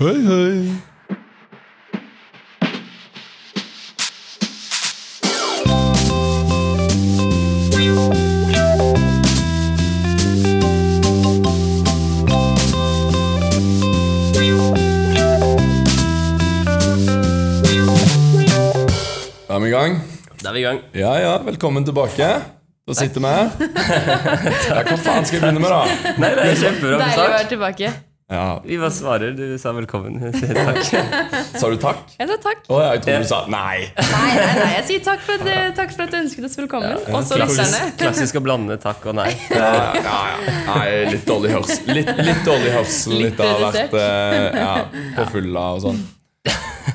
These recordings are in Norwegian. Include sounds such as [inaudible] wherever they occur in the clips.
Hei, hei. Da er vi i gang. Da er vi i gang. Ja, ja, velkommen tilbake. Da sitter vi her. Ja, hva faen skal jeg begynne med, da? Nei, det er kjempebra Deilig å start. være tilbake. Ja, Vi bare svarer. Du sa velkommen. [laughs] Takk. Sa du takk? Jeg sa takk. Å, ja, jeg trodde du sa nei. Nei, nei, nei, jeg sier takk for at, takk for at du ønsket oss velkommen. Og så lytterne. Klassisk, klassisk å blande takk og nei. Ja, ja, ja. Nei, litt dårlig hørsel. Litt, litt dårlig hørsel. Litt Litt av hvert. redusert. eh, Ja, på fulla og sånn.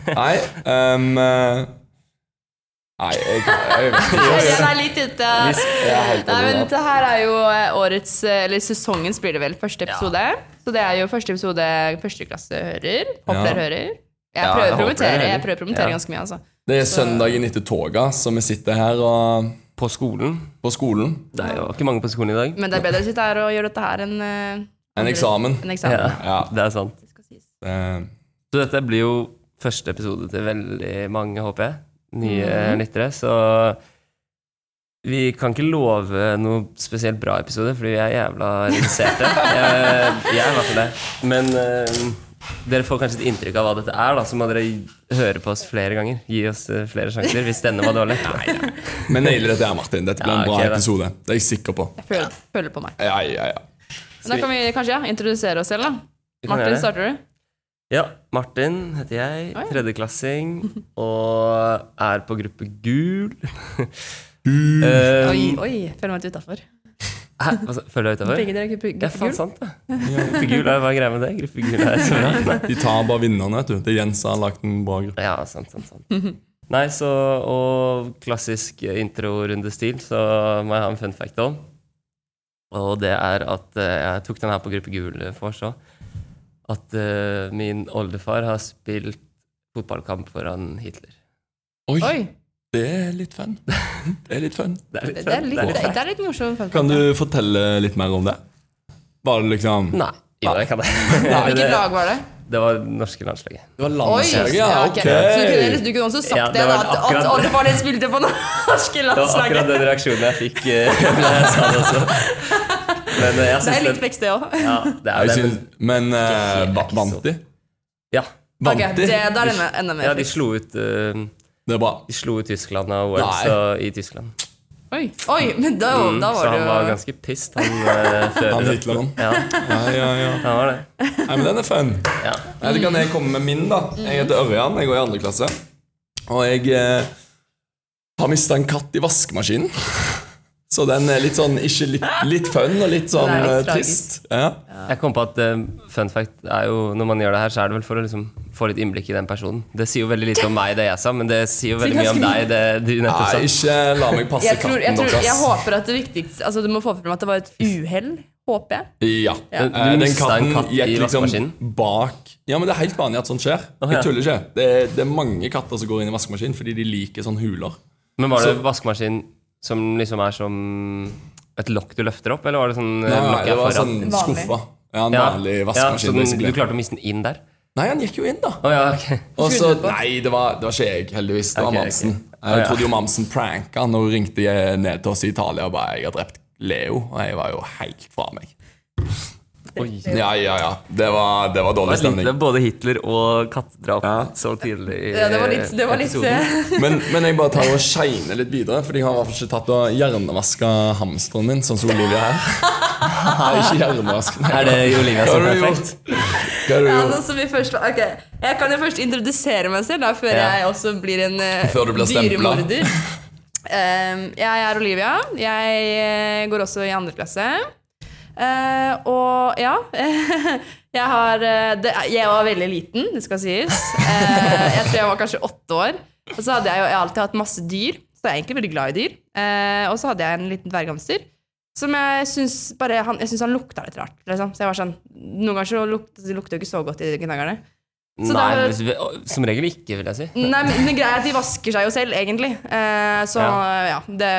Nei ehm, eh, Nei, jeg, jeg, jeg, Jeg er litt ute. jeg er helt Nei, men overalt. dette her er jo eh, årets, eh, eller sesongens blir det vel, første episode. Så det er jo første episode førsteklasse hører. Håper Ja. dere hører. Jeg Ja, prøver jeg å håper dere promotere, hører. jeg prøver å promotere Ja. ganske mye, altså. Det er søndagen etter toga, så vi sitter her og, På skolen. på skolen. Det er jo ikke mange på skolen i dag. Men det er bedre å sitte her og gjøre dette her enn eh, En eksamen. en Ja, eksamen. Ja. det er sant. Det skal sies. eh, Så dette blir jo første episode til veldig mange, håper jeg. Nye Mhm. lyttere. Så vi kan ikke love noe spesielt bra episode, fordi vi er jævla reduserte. Jeg, jeg er i hvert fall det. Men eh, dere får kanskje et inntrykk av hva dette er, da, så må dere høre på oss flere ganger. Gi oss eh, flere sjanser hvis denne var dårlig. Vi nailer dette her, Martin. Dette blir Ja, en bra ok, da. episode. Det er jeg sikker på. Jeg føler, føler på meg. Ja, ja, ja. Men da kan vi kanskje ja, introdusere oss selv, da. Vi kan gjøre Martin, det. starter du? Ja, Martin heter jeg. Oi. Tredjeklassing. Og er på gruppe gul. Eh, Oi, oi, føler meg litt utafor. hæ? Hva sa- Føler du deg utafor? Begge dere er gruppe- Ja, gruppe faen gul. [laughs] sant, da. Gruppe gul er hva er greia med det? Gruppe gul er så bra. De tar bare vinnerne, vet du. Det er Jens som har lagt en bra gruppe. [laughs] Ja, sant, sant, sant. Nei, så, og klassisk introrundestil, så må jeg ha en fun fact om. Og det er at eh, jeg tok den her på gruppe gul eh, for så. At eh, min oldefar har spilt fotballkamp foran Hitler. Oi, Oi, det er litt fun. Det er litt fun. Det er det er litt, fun, det er litt morsom fun fact. Kan du fortelle litt mer om det? Var det liksom Nei. Jo, jeg kan [laughs] det. Hvilket [laughs] det, lag var det? det var det norske landslaget. [laughs] Det var Oi! landslaget, ja. ja, ok. Ok. Så du kunne, du kunne også sagt Ja, det det, da, var at, akkurat at det. oldefaren din spilte på [laughs] norske Det var akkurat landslaget. den reaksjonen jeg fikk eh, [laughs] da jeg sa det [laughs] også. Men eh, jeg Det er syns litt det, frekt, det òg. ja, det Jeg er det. synes, men eh, Ikke va- så- vant de? Ja, Vant de? det, da er det enda- enda ja mer de, frekt. slo ut, eh, Det er bra. de slo ut Tyskland av Wales Nei. og- i Tyskland. Oi, Oi, men da, da Mm, så var det han var jo ganske pissed, han eh, før. Han Hitler-en. Ja, Ja, ja, ja. han var det. Nei, men den er fun. Ja. Nei, det kan jeg komme med min, da. Jeg heter Ørjan, jeg går i andre klasse. Og jeg eh, har mista en katt i vaskemaskinen. Så den er litt sånn ikke litt, litt fun og litt sånn Det er litt eh, trist. tragisk. Ja. Jeg kom på at eh, fun fact er jo Når man gjør det her, så er det vel for å liksom få litt innblikk i den personen. Det sier jo veldig lite om meg, det jeg sa, men det sier jo veldig mye om deg, det du nettopp Nei, sa. ikke la meg passe jeg, tror, jeg, katten tror, deres. jeg håper at det viktigste altså, Du må få frem at det var et uhell, håper jeg. Ja. Du- du Eh, Den mistet en katten katt i gikk liksom vaskemaskinen? bak Ja, men det er helt vanlig at sånt skjer. ja. Jeg tuller ikke. Det er, det er mange katter som går inn i vaskemaskinen fordi de liker sånne huler. Men var det Så- vaskemaskin som liksom er som et lokk du løfter opp, eller var det sånn eh, Nei, lokk det jeg var foran? sånn Vanlig. skuffa. Ja, en Ja, vanlig ja, vaskemaskin. så den- basically. du klarte å miste den inn der? Nei, han gikk jo inn, da. Å ja, ok. Og så, Skulle du på? nei, det var, det var ikke jeg, heldigvis. Det var Ok, ok. Mamsen. Ah, Jeg ja. trodde jo Mamsen pranka han og ringte jeg ned til oss i Italia og bare 'Jeg har drept Leo', og jeg var jo helt fra meg. Oi. Ja, ja, ja. Det var, det var dårlig Det var litt- det stemning. var både Hitler og kattedrap så tidlig i Ja, det var litt, det var litt eh, episoden. Men, men jeg bare tar og shiner litt videre, Fordi jeg har i hvert fall ikke tatt og hjernevaska hamsteren min, sånn som Olivia her. Nei, ikke hjernevask. Nei, Er det Olivia hva som har er du perfekt? gjort? Hva har du [laughs] Ja, gjort? nå som vi først, var- ok. Jeg kan jo først introdusere meg selv, da, før Ja. jeg også blir en eh, [laughs] Før du blir stempla. dyremorder. Ehm, jeg er Olivia. Jeg eh, går også i andre klasse. Eh, og ja [laughs] Jeg har eh, det, Jeg var veldig liten, det skal sies. Eh, jeg tror jeg var kanskje åtte år. Og så hadde jeg jo jeg har alltid hatt masse dyr, så jeg er egentlig veldig glad i dyr. Eh, og så hadde jeg en liten dverghamster. Som jeg syns bare han, Jeg synes han lukta litt rart. Liksom. Så jeg var sånn Noen ganger så lukter det lukter jo ikke så godt i gnagerne. Så Nei, da- hvis vi- å, som regel ikke, vil jeg si. Nei, men det greia er at de vasker seg jo selv, egentlig. Eh, så ja, det,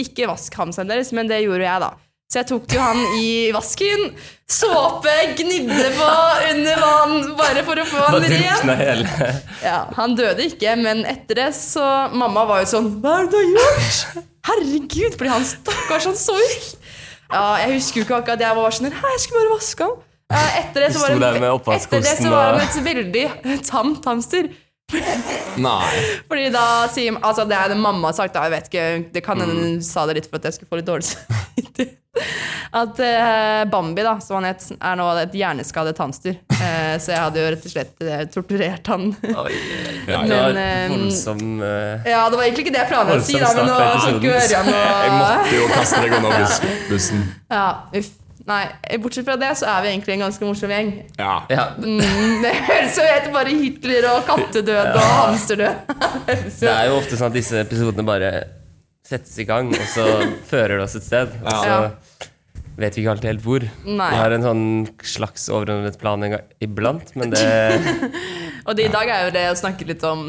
ikke vask hamsteren deres, men det gjorde jeg, da. Så jeg tok jo han i vasken. Såpe gnidde på eh, under vann. Bare bare for å få Da han ren. drukna hele Ja, han døde ikke, men etter det så Mamma var jo sånn Hva er det du har gjort? Herregud, fordi han stakkars, han så jo Ja, jeg husker jo ikke akkurat at jeg var sånn her, Hei, jeg skulle bare vaske ham. Eh, Etter det så var Sto der med han, etter det så oppvaskkosten var og- han et veldig tamt hamster. Nei. Fordi da sier Altså, det er det mamma har sagt, da. Jeg vet ikke, det kan hende hun sa det litt for at jeg skulle få litt dårlig samvittighet. [laughs] At eh, Bambi, da, som han het, er nå et hjerneskadet hamster. Eh, så jeg hadde jo rett og slett eh, torturert han. [laughs] Oi, Ja, det var men, eh, voldsom eh, Ja, det var egentlig ikke det jeg planla å si, da, men nå skal ikke Ørjan Jeg og måtte jo kaste deg under bus- bussen. Ja, uff. Nei, bortsett fra det så er vi egentlig en ganske morsom gjeng. Ja. Ja, Mm, det høres jo helt bare Hitler og kattedød og hamsterdød. [laughs] Det høres det jo- er jo ofte sånn at disse episodene bare settes i gang, og så [laughs] fører det oss et sted. Og så Ja. vet vi ikke alltid helt hvor. Nei. Vi har en sånn slags overordnet plan en gang, iblant, men det [laughs] Og det i dag er jo det å snakke litt om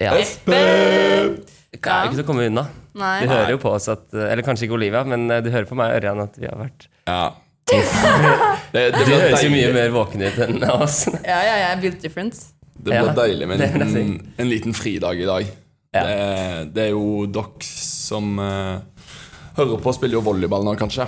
ja, det er Ja. ikke til å komme unna. Du Nei. hører jo på oss at eh, Eller kanskje ikke Olivia, men eh, du hører på meg og Ørjan at vi har vært Ja. Det, det Du ble høres jo mye deilig, mer våken ut enn oss. Ja, ja, ja. Built difference. det ble Ja. deilig med Det vil en, jeg si. liten- en liten fridag i dag. Ja. Det, det er jo dere som eh, hører på, spiller jo volleyball nå, kanskje.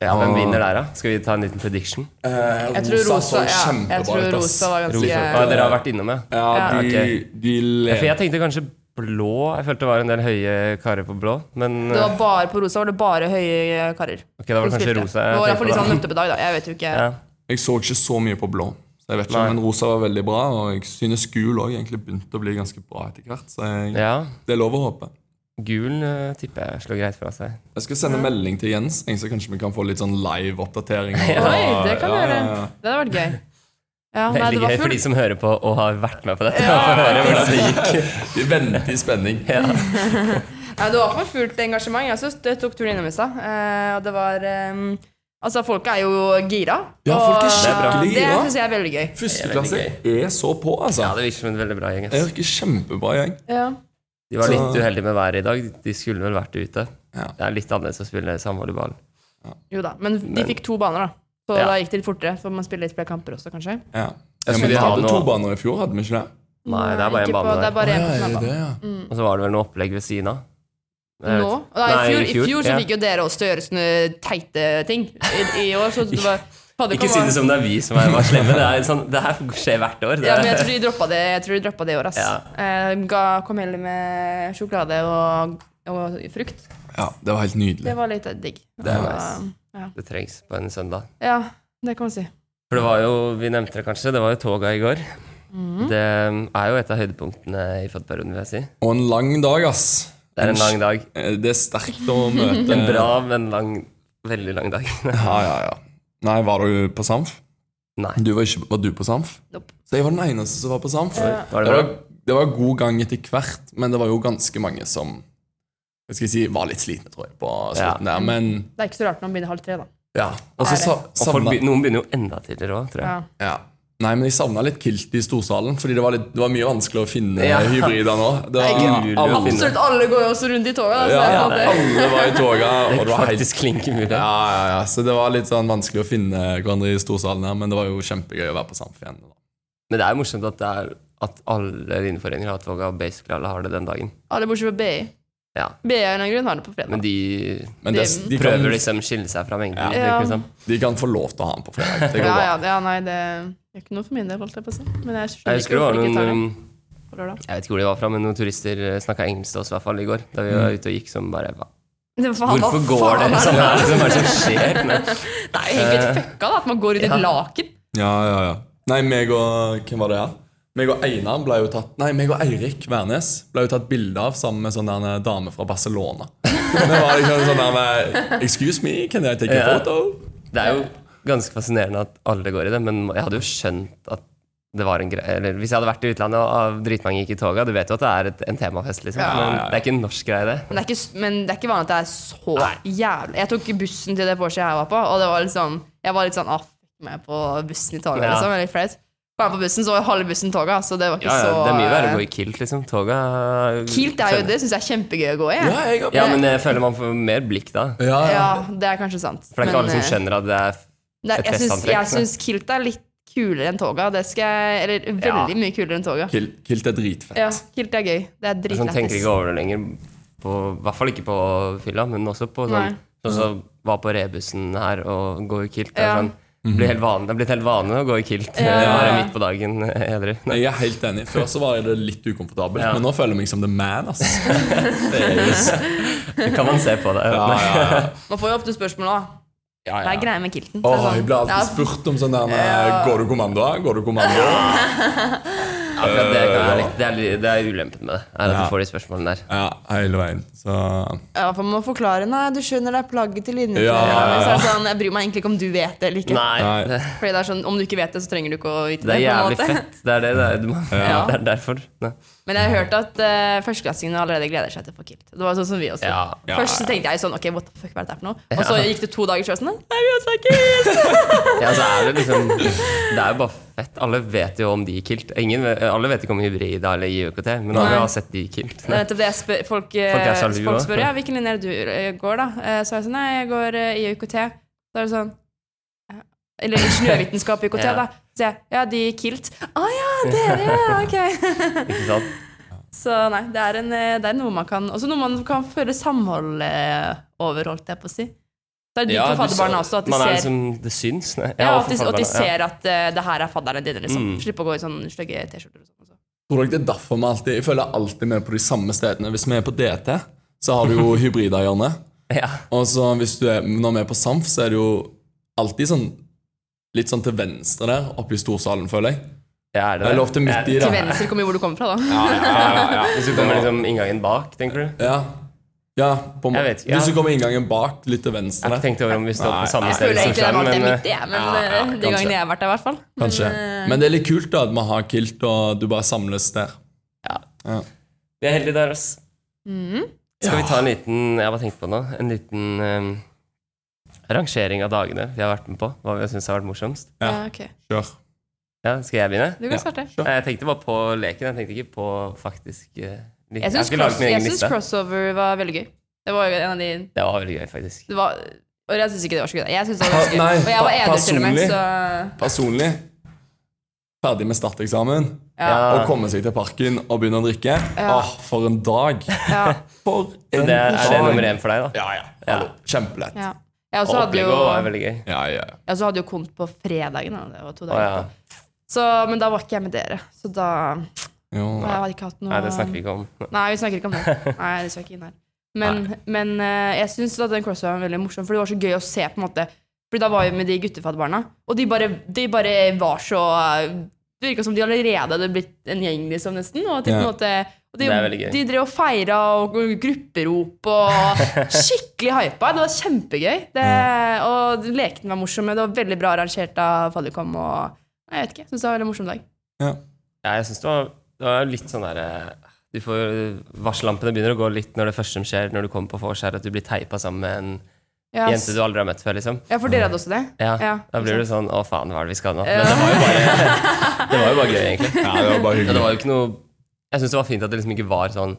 Ja, Hvem vinner der, da? Skal vi ta en liten prediction? Jeg tror Rosa, Eh, så ja, kjempebra jeg tror ut, ass. Rosa var Rosa. ganske Ah, dere har vært innom, ja? Ja, Ja. de, Ok. de Ja, lever For jeg tenkte kanskje blå. Jeg følte det var en del høye karer på blå. Men eh, Det var bare på Rosa var det bare høye karer. ok, da var det som kanskje spilte. rosa. Det var i Jeg hvert fall sånn- de tenkte på som møtte på dag, da. Jeg vet jo ikke. da. Ja. Jeg så ikke så mye på blå. Så jeg vet ikke, Nei. Men rosa var veldig bra, og jeg synes gul òg egentlig begynte å bli ganske bra etter hvert. Så jeg, ja. det er lov å håpe. Gul eh, tipper jeg slår greit fra seg. Jeg skal sende melding til Jens, jeg, så kanskje vi kan få litt sånn live-oppdatering. [laughs] Oi, det kan Ja, gjøre. ja, ja. Det hadde vært [laughs] gøy. Ja, nei, Veldig det var gøy for de fullt. som hører på og har vært med på dette. Ja, høre hvordan det gikk. Vi venter i spenning. Nei, det var for fullt engasjement. Jeg synes det tok turen innom i stad. Eh, Og det var eh, Altså, folk er jo gira. Ja, folk er og skikkelig Det gira. syns jeg er veldig gøy. Førsteklasse er så på, altså. Ja, det virker som en veldig bra gjeng. Jeg ass. virker kjempebra gjeng. Ja. De var litt uheldige med været i dag. De skulle vel vært ute. Ja. Det er litt annerledes å spille samvolleyball. Jo da. Men de Men- fikk to baner, da. Så Ja. da gikk det litt fortere. For man spiller litt flere kamper også, kanskje. Ja. Jeg Ja, skulle men vi ha hadde noe- to baner i fjor, hadde vi ikke det? Nei, det er bare ikke en på- bane Det der. er bare Ja, en på Mm. er det snabba. det, ja? Og så var det vel noe opplegg ved siden av. Jeg Nå? vet- Nei, i fjor, i fjor, så ja. fikk jo dere også til å gjøre sånne teite ting. I, i år, så det var fader, Ikke kom si an. det som det er vi som er var slemme. Det, er sånn, det her skjer hvert år. Det ja, men jeg er, tror de droppa det Jeg tror de droppa det i år, ass. Ja. Eh, ga, kom heller med sjokolade og, og frukt. Ja, det var helt nydelig. Det var litt digg. det, er Og, nice. ja. det trengs på en søndag. ja, det kan man si. For det var jo, vi nevnte det kanskje, det var jo toga i går. Mhm. Det um, er jo et av høydepunktene i fadderperioden, vil jeg si. Og en lang dag, ass. Det er en lang dag. Eh, Det er sterkt å [laughs] møte En bra, men lang, veldig lang dag. [laughs] Ja, ja, ja. Nei, var du på Samf? Nei. Du var, ikke, var du på Samf? Nope. Så jeg var den eneste som var på Samf. Var Det det bra? var, det var god gang etter hvert, men det var jo ganske mange som hva skal jeg si, var litt slitne, tror jeg, på slutten der. Men Det er ikke så rart når man begynner halv tre, da. ja. Og så sa- Og folk, savna be- noen begynner jo enda tidligere òg, tror jeg. Ja. ja. Nei, men jeg savna litt kilt i storsalen, fordi det var, litt, det var mye vanskeligere å finne Ja. hybrider nå. Det var, Det er ikke mulig å finne. Absolutt alle går jo også rundt i toga. da, så ja, det er på en måte- alle var i toga, og det var Det helt er faktisk klink umulig. ja, ja, ja. Så det var litt sånn vanskelig å finne hverandre i storsalen her, men det var jo kjempegøy å være på Samf igjen. Da. Men det er jo morsomt at, det er, at alle linjeforeninger har toga, og basically alle har det den dagen. Alle bortsett fra BI. Ja. BI av en eller annen grunn har det på fredag. Men de Men det, de, kan, prøver liksom å skille seg fra mengden. Ja. virker det som. de kan få lov til å ha den på fredag. Det går Ja, bra. ja, ja, nei, det er ikke noe for min del, holdt jeg på å si. Men jeg skjønner Jeg ikke husker det var hvorfor de ikke tar det noen um, på lørdag. Jeg vet ikke hvor de var fra, men noen turister snakka engelsk til oss i hvert fall i går. Da vi var ute og gikk som bare Mm. hva? Hvorfor går dere sånn Eh, her? Liksom, Hva er det som skjer? Men, Det er jo helt fucka da, at man går ut i et laken. Ja, ja, ja. Nei, meg og Hvem var det, ja? Meg og Einar ble jo tatt Nei, meg og Eirik Wærnes ble jo tatt bilde av sammen med sånn der en dame fra Barcelona. Det var liksom sånn der med Excuse me, can I take a Ja. photo? det er jo ganske fascinerende at alle går i det, men jeg hadde jo skjønt at det var en greie, eller Hvis jeg hadde vært i utlandet og av dritmange gikk i toga Du vet jo at det er et, en temafest, liksom. Ja, Men det er ikke en norsk greie, det. Men det, er ikke, s- men det er ikke vanlig at det er så jævlig Jeg tok bussen til det vorset jeg var på, og det var liksom, jeg var litt sånn aff med på bussen i toget. Ja. Liksom, veldig flaut. Kom jeg på bussen, så var halve bussen toga, så det var ikke Ja, ja, så eh, det er mye verre å gå i kilt, liksom. Toga Kilt er jo det, syns jeg er kjempegøy å gå i. Ja, jeg har Ja, men jeg føler man får mer blikk da. ja, ja. Ja, det er kanskje sant. For det er ikke alle som eh, skjønner at det er det er, et jeg syns- festantrekk, Jeg nei. syns kilt er litt kulere enn toga. Det skal jeg, eller veldig mye kulere enn toga. Kilt, kilt er dritfett. Ja, kilt er gøy. Det er Sånn tenker dritlættis. ikke over det lenger. På, I hvert fall ikke på fylla, men også på sånn Nei. Sånn som var på rebussen her og gå i kilt. Det Ja. er sånn, blir helt vanlig, det er blitt helt vanlig å gå i kilt Ja. eh, bare midt på dagen eh, edru. Nei. Jeg er helt enig. Før så var det litt ukomfortabelt, Ja. men nå føler jeg meg som the man. [laughs] ass. Det er jo s- Det kan man se på det. ja, Nei. ja, ja. Man får jo ofte spørsmål òg. Ja, Hva ja. er greia med kilten? Så Åh, det er jeg ble sånn, alltid spurt om sånn der med, Går du kommando? Går du kommando? Akkurat det, kan være litt, det, er, li- det er ulempen med det. Er at Ja. du får de spørsmålene der. Ja, hele veien. Så ja, ja, for man må forklare Nei, du skjønner det er plagget til innenfor. Ja, ja, ja. Så er det sånn, jeg bryr meg egentlig ikke om du vet det eller ikke. Nei, Nei. det, Fordi det er sånn, Om du ikke vet det, så trenger du ikke å vite det er det. på en jævlig måte. fett. Det er det, det, er, du må, Ja. det er derfor. Nei. [laughs] Men jeg har hørt at eh, førsteklassingene allerede gleder seg til å få kilt. Det var sånn som vi også Ja, ja, Først så ja. tenkte jeg sånn Ok, what the fuck, hva er dette her for noe? Og så gikk det to dager, så var jeg sånn Nei, vi også har kilt! [laughs] Ja, så er det liksom Det er jo bare fett. Alle vet jo om de i kilt. Ingen, ve- alle vet ikke om hybrida eller IOKT, men alle Nei. har sett de i kilt. [laughs] Det er nettopp det jeg spør, folk, eh, Folk er sjalu, folk da. spør ja, hvilken linje er det du eh, går, da? Eh, Så er jeg sånn Nei, jeg går eh, i UKT. Så er det sånn «Ja.» Eller ingeniørvitenskap [laughs] i UKT, Ja. da. Så sier jeg ja, de i kilt. Å ja, dere, ja, [laughs] ok. [laughs] Ikke sant? Så nei, det er, en, eh, det er noe man kan Også noe man kan føle samhold eh, over, holdt jeg på å si. Det er digg Ja, for du fadderbarna sa- også, at de Man er ser liksom Det syns. Nei. Ja, Ja, at de, for at de faen, ja. ser at eh, det her er fadderne dine, liksom. Mm. Slipp å gå i sånne stygge T-skjorter og sånn. også. tror dere det er derfor vi alltid Jeg føler alltid vi er på de samme stedene. Hvis vi er på DT, så har du [laughs] jo hybrida i hjørnet. Ja. Og så hvis du er, når vi er på SAMF, så er det jo alltid sånn litt sånn til venstre der, oppe i storsalen, føler jeg. Ja, er det Eller det? ofte midt i, da. Ja. Til venstre kommer jo hvor du kommer fra, [laughs] da. Ja, ja, ja, ja. Hvis du kommer liksom inngangen bak, tenker du? ja. ja, på må- Jeg vet ikke, ja. Hvis du kommer inngangen bak, litt til Jeg har venstre ikke tenkt over om vi står på Nei, samme jeg sted. Føler i egentlig det var sosialen, liksom alltid men, midt i, jeg, men ja, ja, eh, de kanskje. gangene jeg har vært der, i hvert fall. Kanskje. Men det er litt kult da at vi har kilt, og du bare samles der. eh, Vi er heldige der, ass. Mm. Skal vi ta en liten Jeg har bare tenkt på noe. En liten eh, rangering av dagene vi har vært med på. Hva vi syns har vært morsomst. Ja. Ja, ok. Kjør. Ja, skal jeg begynne? Du Ja, kan starte. kjør. Nei, Jeg tenkte bare på leken. Jeg tenkte ikke på faktisk eh, li- Jeg har syns ikke laget cross, min jeg egen syns liste. crossover var veldig gøy. Det var jo en av de Det var veldig gøy, faktisk. det var, Og jeg syns ikke det var så gøy. da. Jeg synes det var ganske Nei, gøy. Og jeg var pa- edru til og med, personlig. så Personlig, ferdig med starteksamen, ja. og komme seg til parken og begynne å drikke. Åh, for en dag! ja, For en Det er, er det dag. nummer én for deg, da? Ja, ja. Hallo. Kjempelett. ja. Jeg også hadde jo, Opplegget var veldig gøy. Ja, ja. jeg også hadde jo kont på fredagen. Da. Det var to Å, dager. ja. Så, men da var ikke jeg med dere. Så da Jo. Jeg har ikke hatt noe Nei, det snakker vi ikke om. Nei, vi snakker ikke [laughs] om det. Nei, det skal ikke inn her. Men, men eh, jeg syns at den crossover var veldig morsom, for det var så gøy å se. på en måte Fordi da var vi med de guttefadderbarna, og de bare, de bare var så eh, Det virka som de allerede hadde blitt en gjeng, liksom, nesten. Og, at de på en Ja. måte, og de, Det er veldig gøy. de drev og feira og grupperop [laughs] og Skikkelig hypa. Det var kjempegøy. Det, og lekene var morsomme. Det var veldig bra arrangert av Fadderkom. Og Nei, jeg vet ikke, jeg syns det var en veldig morsom dag. Ja. Ja, jeg synes det var, det var litt sånn derre du får, Varsellampene begynner å gå litt når det første som skjer når du kommer på vors, er at du blir teipa sammen med en Ja, s- jente du aldri har møtt før, liksom. ja, for dere hadde også det? Ja, Ja, Da blir ikke du sånn Å, faen, hva er det vi skal nå? Men det var jo bare, [laughs] det var jo bare gøy, egentlig. ja, det var bare Ja, det hyggelig. var jo ikke noe Jeg syns det var fint at det liksom ikke var sånn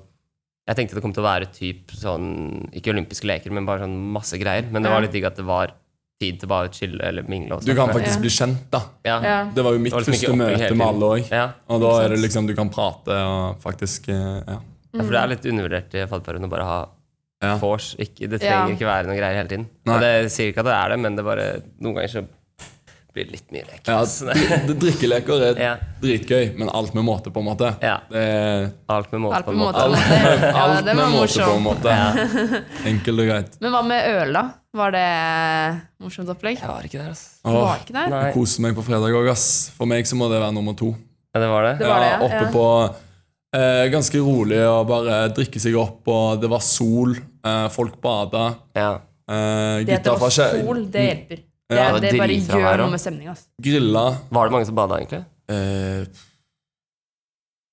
Jeg tenkte det kom til å være typ sånn Ikke olympiske leker, men bare sånn masse greier. Men det Ja. var litt digg at det var tid til bare å chille eller mingle. Og Du kan snakke. faktisk bli kjent, da. ja. Ja. Ja. Det var jo mitt Det var liksom ikke første opplegg møte hele med tiden. alle òg. ja, Sånn. Og da er Ikke det sant? liksom du kan prate og faktisk eh, Ja. for Mm. det er litt undervurdert i fadderperioden å bare ha Ja. vors. Ikke, det Ja. trenger ikke være noe greier hele tiden. Nei. Og det sier ikke at det er det, men det bare noen ganger så blir det litt mye lek. ja Så det- dri- dri- drikkeleker er sånn. Ja. dritgøy, men alt med måte, på en måte. Ja. Det er Alt med måte Alt på på en måte. måte. alt, [laughs] Ja, alt den med var måte, på en morsom. måte. Enkelt og greit. Men hva med øl, da? Var det morsomt opplegg? Jeg var ikke der, altså. Var Åh, ikke der? Nei. Kose meg på fredag òg, ass. For meg så må det være nummer to. Ja, det var Det det. var Ja, det, oppe ja. på eh, Ganske rolig og bare drikke seg opp, og det var sol, eh, folk bada. Ja. Eh, Det at det gutta fra var Skje- sol, det hjelper. Det, Ja, det det, bare driter gjør være, da. noe med stemninga. Altså. grilla. Var det mange som bada, egentlig? Eh,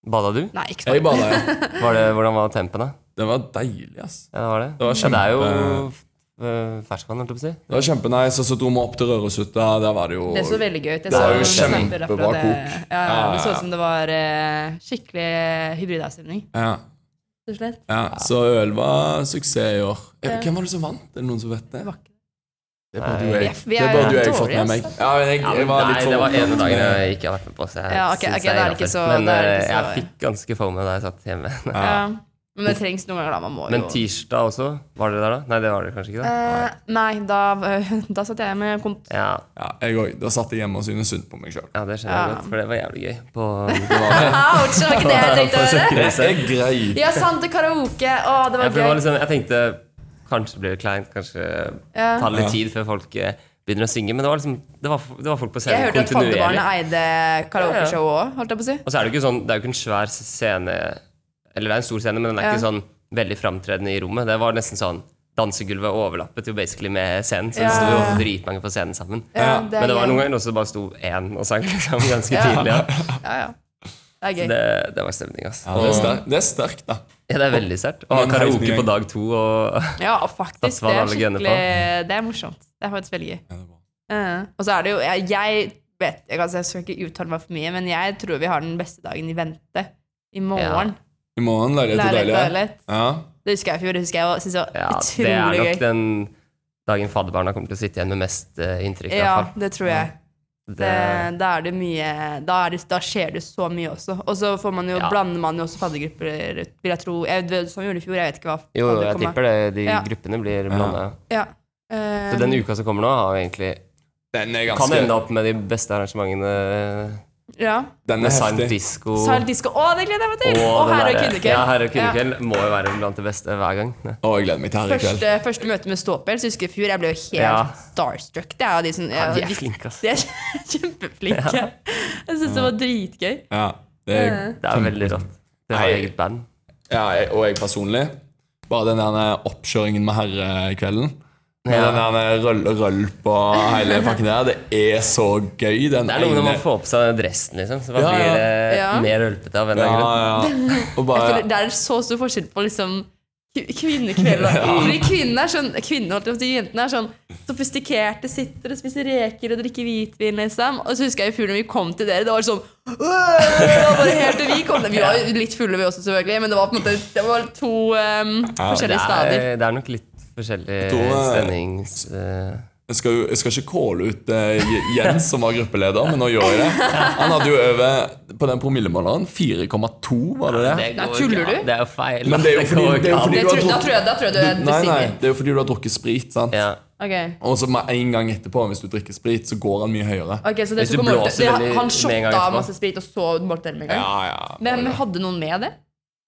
Bada du? Nei, ikke så jeg bada, ja. Var det, hvordan var tempen, da? Det var deilig, ass. Ja, det var det. Det var Ja, det er jo kjempe- f- ferskvann, holdt jeg på å si. Det var kjempenice, og så dro vi opp til Røroshytta. Der var det jo Det så veldig gøy ut. Jeg Det så var jo noen snapper kjempebra derfra, det- kok. Ja, ja, Ja, ja, det så ja. ut som det var eh, skikkelig hybridavstemning. ja, rett og slett. ja. Så øl var suksess i år. Eh, Hvem var det som vant? Er det noen som vet det? Det var ikke- Det burde jo jeg, Jeff, vi det er jo burde jo jeg dårlige, altså. fått med meg. Ja, men jeg, Ja, jeg men var nei, litt sånn- for det var en av dagene med- jeg ikke har vært med på. Så jeg Ja, ok, synes jeg ok, da er er det ikke innenfor. så- Men da er det eh, ikke så- jeg fikk ganske få med da jeg satt hjemme. Ja. Men det trengs noen ganger, da. Man må jo [laughs] Men tirsdag også? Var dere der da? Nei, det var dere kanskje ikke? da? Eh, Nei, da, [laughs] da satt jeg med kont... Ja, Ja, jeg òg. Da satt jeg hjemme og syntes synd på meg sjøl. ja, det skjønner jeg godt, for det var jævlig gøy. På, [laughs] det var, Ouch! Det var ikke [laughs] det jeg tenkte å Jeg høre. er grei. Ja, sant, det karaoke. ja, Å, det var for det var gøy. liksom, jeg tenkte kanskje blir det kleint, kanskje Ja. tar litt Ja. tid før folk eh, begynner å synge, men det var, liksom, det var, det var folk på Jeg scenen hørte at Fadderbarnet kontinuerlig. eide karaokeshowet òg, holdt jeg på å si. Og så er det jo ikke sånn, det er jo ikke en svær scene, eller det er en stor scene, men den er ikke Ja. sånn veldig framtredende i rommet. Det var nesten sånn dansegulvet overlappet jo basically med scenen, så Ja. det sto jo ofte dritmange på scenen sammen. Ja, det er Men det var gøy. noen ganger også det bare sto én og sang [laughs] liksom, ganske Ja. tidlig. Ja. Ja, ja. Det er gøy. Det, det var stemning, ass. Ja, det, er Og- sterkt, det er sterkt, da. Ja, det er veldig sterkt. Og ha Men helt karaoke ny på gjeng. dag to og Ja, og faktisk. That's hva Det er alle gunner på. skikkelig Det er morsomt. Det er faktisk veldig gøy. Eh, og så er det jo Jeg, jeg vet jeg, altså, jeg skal ikke uttale meg for mye, men jeg tror vi har den beste dagen i vente. I morgen. I morgen, leilighet og Leilighet og deilighet. leilighet. Ja. Det husker jeg i fjor. Det husker jeg og syntes det var Ja, det er utrolig nok gøy. den dagen fadderbarna kommer til å sitte igjen med mest eh, inntrykk. i Ja, hvert fall. det tror jeg. Det, Det- da er det mye da, er det, da skjer det så mye også. Og så får man jo, Ja. blander man jo også faddergrupper, vil jeg tro. Jeg, vet- som vi gjorde i fjor, jeg vet ikke hva Jo, jo, fadder jeg kommer. tipper det. De Ja. gruppene blir blanda. Ja. Eh, Så den uka som kommer nå, har jo egentlig Den er kan ende ganske opp med de beste arrangementene. ja. Den Med er Silent heftig. Disco Silent Disco. Å, det gleder jeg meg til! Og, og den Herre og derre- kvinnekveld. Ja, Herre og Kvinnekveld må jo være blant det beste hver gang. Ja. Å, jeg gleder meg til her i kveld. Første, første møte med ståpels. Husker i fjor, jeg ble jo helt Ja. starstruck. Det er jo de som ja, De er flinke, ass. De er [laughs] kjempeflinke. Jeg syns det var dritgøy. Ja, det er, Det er veldig rått. Det har Nei. eget band. ja, jeg- og jeg personlig. Bare den der oppkjøringen med herrekvelden. Med Ja. den der røll, rølp og hele pakken der. Det er så gøy. Den Det er noe når man ene får på seg dressen, liksom. Så bare Ja, ja. blir det Ja. mer rølpete av en eller Ja, annen grunn. ja. Og bare For det er så stor forskjell på liksom kvi- [laughs] kvinnekveld og Fordi kvinnene er sånn kvinnene, holdt jeg på å si, jentene er sånn sofistikerte, sitter og spiser reker og drikker hvitvin, liksom. Og så husker jeg i fjor når vi kom til dere, det var sånn «Åh!» det var bare helt, og Vi kom Vi var jo litt fulle, vi også, selvfølgelig, men det var på en måte Det var to ehm, Det forskjellige er, stader. det er nok litt forskjellig tror, eh, stemning. eh, Jeg skal, jo- jeg skal ikke calle ut eh, J- Jens, som var gruppeleder, men nå gjør jeg det. Han hadde jo over på den promillemåleren 4,2, var det det? Nei, går tuller ikke an. du? Det er jo feil. Men det er jo fordi- går det er jo ikke an. fordi- Det tror, da tror jeg, da tror jeg du er Nei, nei, besvimer. det er jo fordi du har drukket sprit. sant? ja. Ok. Og så med en gang etterpå, hvis du drikker sprit, så går han mye høyere. Ok, så det Hvis du tok han målte- blåser det- veldig Han med en gang shotta etterpå. masse sprit, og så målte dere med en gang? Ja, ja. Hvem hadde noen med det?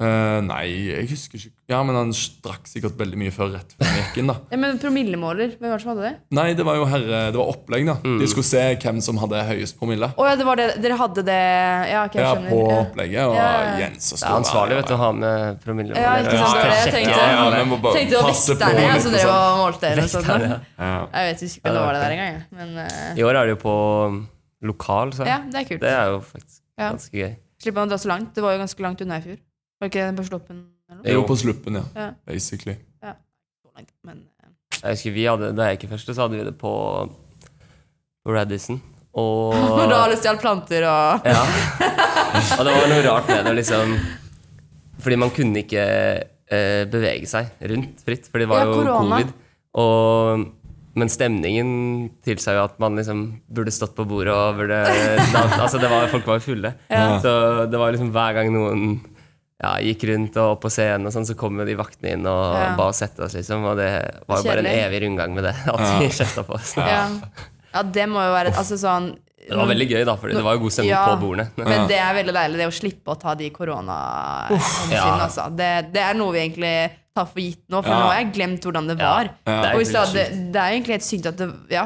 Eh, nei, jeg husker ikke Ja, men han drakk sikkert veldig mye før rett før han gikk [laughs] inn, da. Ja, men Promillemåler, hvem var det som hadde det? Nei, det var jo herre Det var opplegg, da. Mm. De skulle se hvem som hadde høyest promille. Å ja, det var det, dere hadde det Ja, ok, jeg Ja, skjønner. på Ja. opplegget, og Ja, ja. Jens og Det er ansvarlig vet du, å ha med promille. Ja, ikke sant, det var det jeg tenkte. Ja, ja, men må bare Tenkte det var passe på vekterne, ja, litt så og dere sånn. var altså, målte eller noe sånt. Vekterne, da. Jeg vet ikke hvem det var det der engang, jeg. men eh, I år er det jo på um, lokal, så ja, det er kult. det er jo faktisk Ja. ganske gøy. Slipper man å dra så langt. Det var jo ganske langt unna i fjor. Var ikke det på Sloppen eller noe? Jo, på sluppen, ja. Ja. Basically. Så langt, men eh, Jeg husker vi hadde, Da jeg gikk i første, så hadde vi det på, på Radisson. [laughs] Og Når du har lyst til å ha planter og Ja. Og det var noe rart med det, liksom. Fordi man kunne ikke eh, bevege seg rundt fritt, for det var Ja, jo korona. covid. Og, men stemningen tilsa jo at man liksom burde stått på bordet og [laughs] burde da, Altså, det var, folk var jo fulle. Så det var liksom hver gang noen ja, gikk rundt og opp på scenen, og sånn, så kom jo de vaktene inn og Ja. ba oss sette oss, liksom. Og det var jo bare en Kjedelig. evig rundgang med det. At de [laughs] kjefta på oss. Ja, ja det må jo være Altså sånn Det var veldig gøy, da, for det var jo god stemning Ja. på bordene. Men det er veldig deilig det å slippe å ta de koronahensynene. Ja. Altså. Det, det er noe vi egentlig tar for gitt nå, for Ja. nå har jeg glemt hvordan det var. Ja. Det er Og i helt stedet- det, det er egentlig helt sykt at det Ja,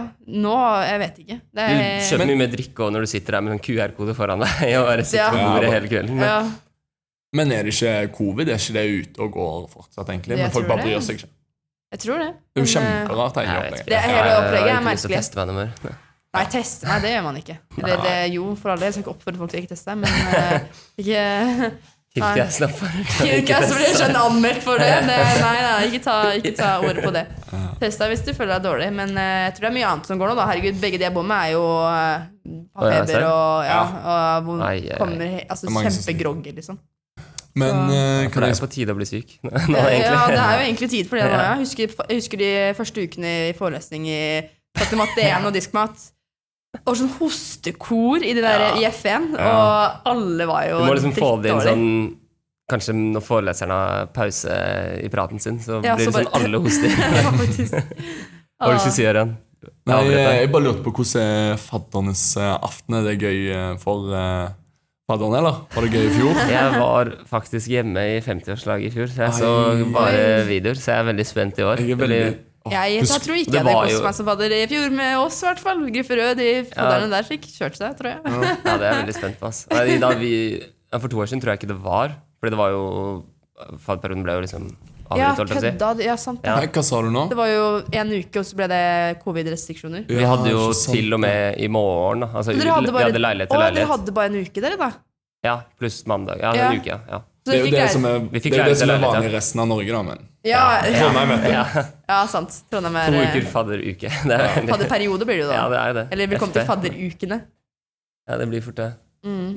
nå Jeg vet ikke. Det Du er, kjøper mye mer drikke også når du sitter der med en QR-kode foran deg [laughs] og bare sitter Ja. på Ja, bordet bare- hele kvelden. ja, Men er det ikke covid? Er ikke det ute og går fortsatt, egentlig? Jeg Men folk tror bare det. bryr seg ikke. jeg tror det. Det er jo Men, eh, kjemperart, egentlig. Jeg vet opplegget. ikke. Det hele Jeg har opplegget er ikke lyst til å merkelig. teste meg noe [laughs] mer. Nei, test, nei, det gjør man [laughs] ikke. Eller, det, jo, for all del. Jeg skal ikke oppfordre folk til å ikke teste, men [laughs] eh, ikke Kirkeassen er for- [laughs] Ikke ikke jeg som blir teste. sånn anmeldt for det. det [laughs] nei, nei, ikke ta, ikke ta ordet på det. Test deg hvis du føler deg dårlig, men eh, jeg tror det er mye annet som går nå. Da. Herregud, begge de jeg bor med, er jo eh, Å, ja, har eh, feber serr? og, ja, og hvor Ai, ai, ai. kommer he- altså, er mange som kjempegroggy, liksom. Men eh, For kan det jeg er jo på tide å bli syk [laughs] nå, Ja, det egentlig. er jo egentlig tid for det nå, ja. Jeg husker, jeg husker de første ukene i forelesning i for at de måtte igjen og diskmat. Og sånn hostekor i det der IF1, Ja. og alle var jo Du må liksom få det inn drittdårlig. sånn Kanskje når foreleseren har pause i praten sin, så Ja, blir så det sånn bare- alle [laughs] hoster. Hva [laughs] Ja, er faktisk. det du skulle si, Jørgen? Nei, eh, Jeg avbrøt deg. jeg bare lurte på hvordan er faddernes eh, aften? Er det gøy eh, for eh, fadderne, eller? Var det gøy i fjor? Jeg var faktisk hjemme i 50-årslaget i fjor, så jeg så Oi. bare videoer. Så [laughs] jeg er veldig spent i år. Jeg er Det blir- veldig Åh, Jeg, da husk- tror ikke det jeg hadde var kost jo- meg som fadder i fjor, med oss i hvert fall. Gruppe Rød, de fadderne der fikk kjørt seg, tror jeg. Ja, det er jeg veldig spent på. Ass. Nei, Da vi, ja, for to år siden tror jeg ikke det var. Fordi det var jo Fadperioden ble jo liksom Ja, avbrutt, holdt jeg på å si. kødda. Ja, sant. det. Ja. Nei, hva sa du nå? Det var jo en uke, og så ble det covid-restriksjoner. Vi hadde jo Ja, ikke sant. til og med i morgen da. altså, Så dere hadde bare, Vi hadde leilighet til Å, leilighet. dere hadde bare en uke, dere, da? Ja, Pluss mandag. Ja, Ja. en uke, ja. Så Det er dere jo fikk det leil- som er, Vi det fikk er, jo det leilighet som er til leilighet, vanlig i resten av Norge, da, men ja, ja. Trondheim, vet du. ja. sant. Trondheim To er uker eh, fadderuke. [laughs] Det er veldig- Fadderperiode blir det jo da. ja, det er jo det. Eller velkommen til Mm. Heftig. fadderukene. Ja, det blir fort det.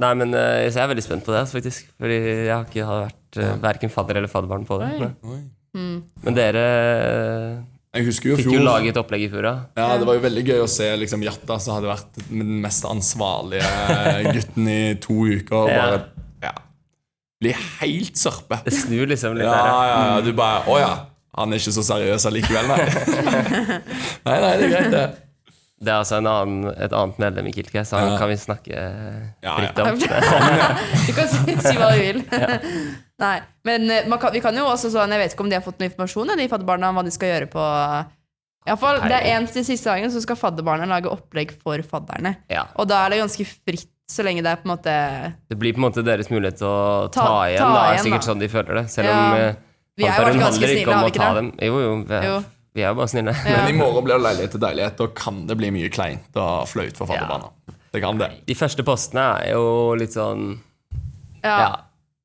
Nei, men eh, så jeg er veldig spent på det, ass, faktisk. Fordi jeg har ikke har vært uh, verken fadder eller fadderbarn på det. Oi. Mm. Oi. Men dere eh, Jeg husker jo fikk fjor jo laget opplegg i fjor, da. Ja, Det var jo veldig gøy å se liksom, Jatta, som hadde vært den mest ansvarlige gutten i to uker, og Ja. bare ja, bli helt sørpe. Det snur liksom litt Ja, der. ja. ja, ja, du bare Å ja, han er ikke så seriøs allikevel, [laughs] nei. nei, nei, det er greit, det. Det er altså en annen, et annet medlem i Kilke, så han Ja. kan vi snakke ja. fritt om. [laughs] Sånn, Du kan si, si hva du vil. Nei, men eh, man kan, vi kan jo også sånn, Jeg vet ikke om de har fått noe informasjon, ja, de fadderbarna, om hva de skal gjøre på i hvert fall, Det er en til siste dagen, så skal fadderbarna lage opplegg for fadderne. Ja. Og da er det ganske fritt, så lenge det er på en måte Det blir på en måte deres mulighet til å ta, Ta- igjen. ta da, er igjen, sikkert da. sånn de føler det. Selv Ja. om eh, Vi har jo Fantarum vært ganske handler ikke snille, om har å vi ikke ta det? dem. Jo, jo, vi er, Jo. Vi er jo bare snille. Ja. Men i morgen blir det leilighet til deilighet, og kan det bli mye kleint og flaut for fadderbarna. Det kan det. [laughs] De første postene er jo litt sånn Ja. Ja.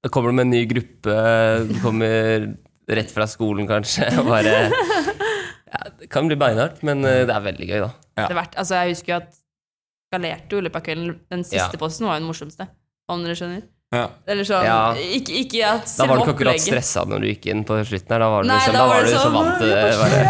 Da kommer du med en ny gruppe, du kommer rett fra skolen kanskje, [laughs] og bare ja, Det kan bli beinhardt, men eh, det er veldig gøy, da. Det er verdt, altså, jeg husker jo at skalerte jo i løpet av kvelden. Den siste Ja. posten var jo den morsomste, om dere skjønner. Ja. Eller sånn Ja. ikke, ikke at Da selve var du ikke akkurat opplegget- stressa når du gikk inn på slutten her. Da var du, Nei, liksom, da var du så vant til det. Bare,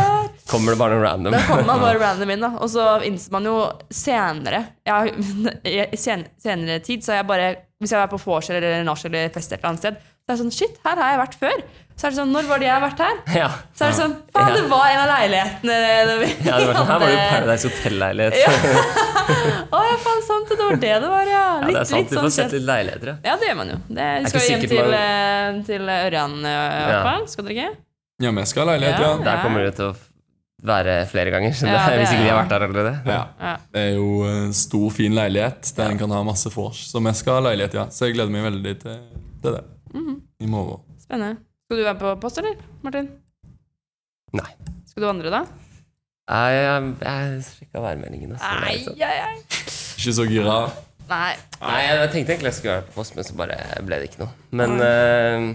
kommer det bare noe random? sånn, Da kom man [laughs] bare random inn, da. Og så innser man jo senere [laughs] jeg, I sen, senere tid så har jeg bare Hvis jeg er på vorspiel eller nach eller fest et eller annet sted, så er det sånn Shit, her har jeg vært før. Så er det sånn Når var det jeg har vært her? Ja. Så er det sånn Faen, det var en av leilighetene da vi Ja, det var sånn, her var jo hadde Paradise Hotel-leilighet. Å ja, faen, sant det. Det var det det var, ja. Ja, Litt, det er sant, litt du får sånn sett kjent. litt leiligheter, ja. Ja, det gjør man jo. Det, vi skal ikke jo hjem sikkert til, man- eh, til Ørjan, eh, i Ja. hvert fall. Skal dere ikke? ja, vi skal ha leilighet, ja. Der kommer det til å være flere ganger, så det, Ja, det hvis ikke er- de har vært der allerede. ja. Ja. Det er jo en stor, fin leilighet der en kan ha masse vors. Så vi skal ha leilighet, ja. Så jeg gleder meg veldig til, til det. I morgen. Spennende. Skal du være på post, eller, Martin? Nei. Skal du vandre, da? Nei, Jeg, jeg sjekka værmeldingen. Altså. Det er Nei, litt sånn. ei, ei. Ikke så gira. Nei. Nei, jeg, jeg tenkte egentlig jeg skulle være på post, men så bare ble det ikke noe. Men eh,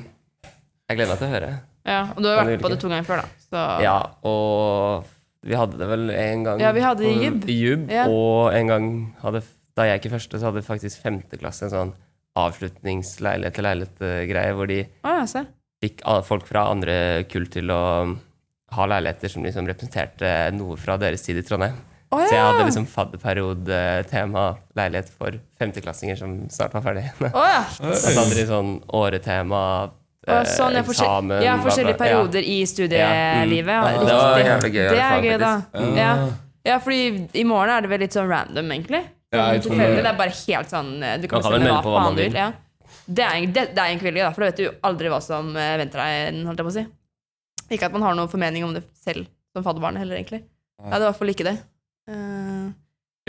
jeg gleder meg til å høre. Ja, og du har Kan vært du på like? det to ganger før, da. Så. Ja, og vi hadde det vel en gang Ja, vi hadde i jubb. i jubb, Ja. Og en gang hadde, da jeg gikk i første, så hadde faktisk femte klasse en sånn avslutningsleilighet til leilighet-greie, hvor de Å, ja, se. fikk a- folk fra andre kull til å ha leiligheter som liksom representerte noe fra deres tid i Trondheim. Å, Så jeg ja. hadde liksom fadderperiodetema leilighet for femteklassinger som snart var ferdig. Så Å, ja. hadde de sånn åretema, Å, eh, sånn, ja, forskjell, eksamen ja, bla, bla. forskjellige perioder i studielivet. Ja. Det var jævlig gøy i Det hvert fall, er gøy, da. faktisk. Ja. ja, fordi i morgen er det vel litt sånn random, egentlig. Ja, jeg tror Tilfeldig. det. Det er bare helt sånn eh, Du kan Man kan vel bestemme melde hva på hva faen man du vil. vil. Ja. Det er, det, det er egentlig veldig gøy, da, for da vet du aldri hva som eh, venter deg. Holdt jeg på å si. Ikke at man har noen formening om det selv som fadderbarn heller, egentlig. Jeg hadde i hvert fall ikke det. Eh,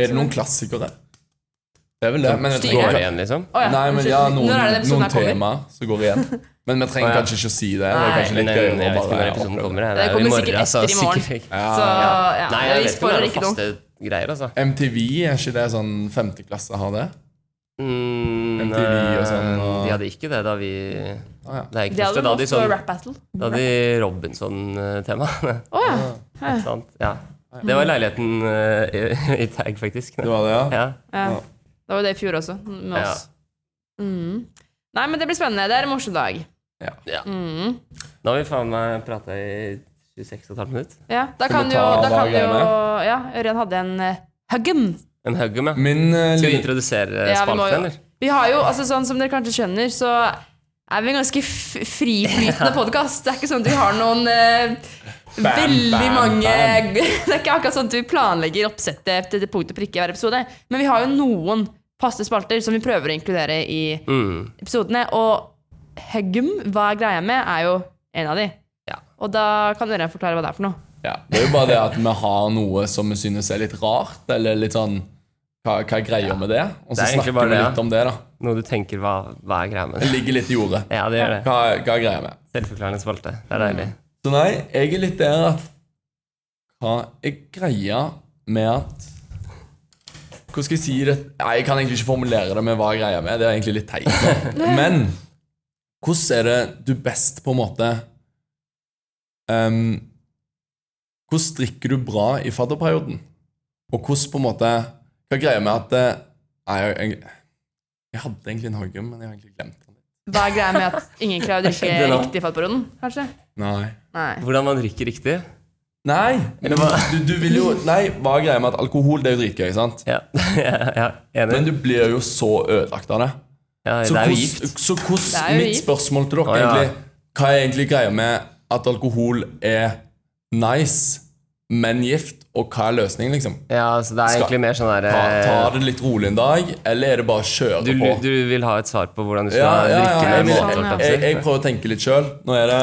Er det noen klassikere? Sånn Det er vel det. Men jeg Styrer. Går tror- igjen, liksom. å, ja, Nei, men unnskyld. ja, noen, Når er det den episoden noen her kommer? tema som går igjen. Men vi trenger Å, ja. kanskje ikke å si det. Det er Nei. kanskje litt Men eh, jeg, jeg gøy å vet ikke når bare episoden oppleve. kommer. jeg. Det er Det jo i kommer morgen, sikkert altså. etter Eh, i morgen. Sikkert ikke. Ja, Så ja. ja, Nei, jeg vet ikke om vi det spoiler er ikke noen noe. faste greier, altså. MTV, er ikke det sånn femteklasse har det? Mm, MTV og sånn, eh, og- De hadde ikke det da vi Å ja. Da jeg gikk Det første, da hadde vært hadde de sånn rap battle. Da hadde de Robinson-tema. [laughs] Å ja. Ikke sant? Ja. Det var leiligheten eh, i, i tag, faktisk. Det var det, ja? Ja. ja. Det var det i fjor også, med Ja. oss. Mm. Nei, men det blir spennende. Det er en morsom dag. Nå har vi faen meg prata i 26,5 minutter. Ja, da kan vi jo, ta da hva kan jo greiene Ja, Ørjan hadde en eh, Huggen. En hugger med. Min eh, Skal vi lille- introdusere Ja, vi må spalten, jo- eller? Vi har jo, altså sånn som dere kanskje skjønner, så er vi en ganske f- friflytende podkast. Det er ikke sånn at vi har noen eh, Bam, veldig bam, mange bam. [laughs] Det er ikke akkurat sånn at vi planlegger oppsettet til punkt og prikke i hver episode, men vi har jo noen faste spalter som vi prøver å inkludere i Mm. episodene. Og Hugum, hva er greia med, er jo en av de. Ja. Og da kan dere forklare hva det er for noe. Ja, det er jo bare det at vi har noe som vi synes er litt rart, eller litt sånn Hva, hva er greia med det? Og Det så er egentlig snakker bare vi det, litt om det, da. Noe du tenker hva, hva er greia [laughs] med Det det? ligger litt i jordet. Ja, det gjør det. Hva, hva er greia med Selvforklarende spalte. Det er deilig. Mm. Så nei, jeg er litt der at Hva er greia med at Hvordan skal jeg si det? Nei, jeg kan egentlig ikke formulere det med hva er greia med. Det er egentlig litt teit. da. Men hvordan er det du best på en måte ehm, Hvordan strikker du bra i fadderperioden? Og hvordan på en måte Hva er greia med at eh, Nei, jeg, jeg, jeg hadde egentlig en hogge, men jeg har egentlig glemt den. Hva er greia med at ingen klarer å drikke skjønte det nå. riktig fatperioden, kanskje? Nei. Nei. Hvordan man drikker riktig. Nei, Eller hva? du, du vil jo Nei, hva er greia med at alkohol det er jo dritgøy, sant? Ja, [laughs] ja, ja enig. Men du blir jo så ødelagt av det. Ja, Så det er hvordan- jo gift. Så Det hvordan er jo Mitt gift. spørsmål til dere Å, ja. egentlig Hva er egentlig greia med at alkohol er nice, men gift, og hva er løsningen, liksom? Ja, så det er Skal- egentlig mer sånn derre Ta, ta det litt rolig en dag, eller er det bare å kjøre du, på? du vil ha et svar på hvordan du skal Ja, ja, ja, jeg, drikke med vil- måte? sånn, holdt ja. jeg, jeg på å jeg si. prøver å tenke litt sjøl. Nå er det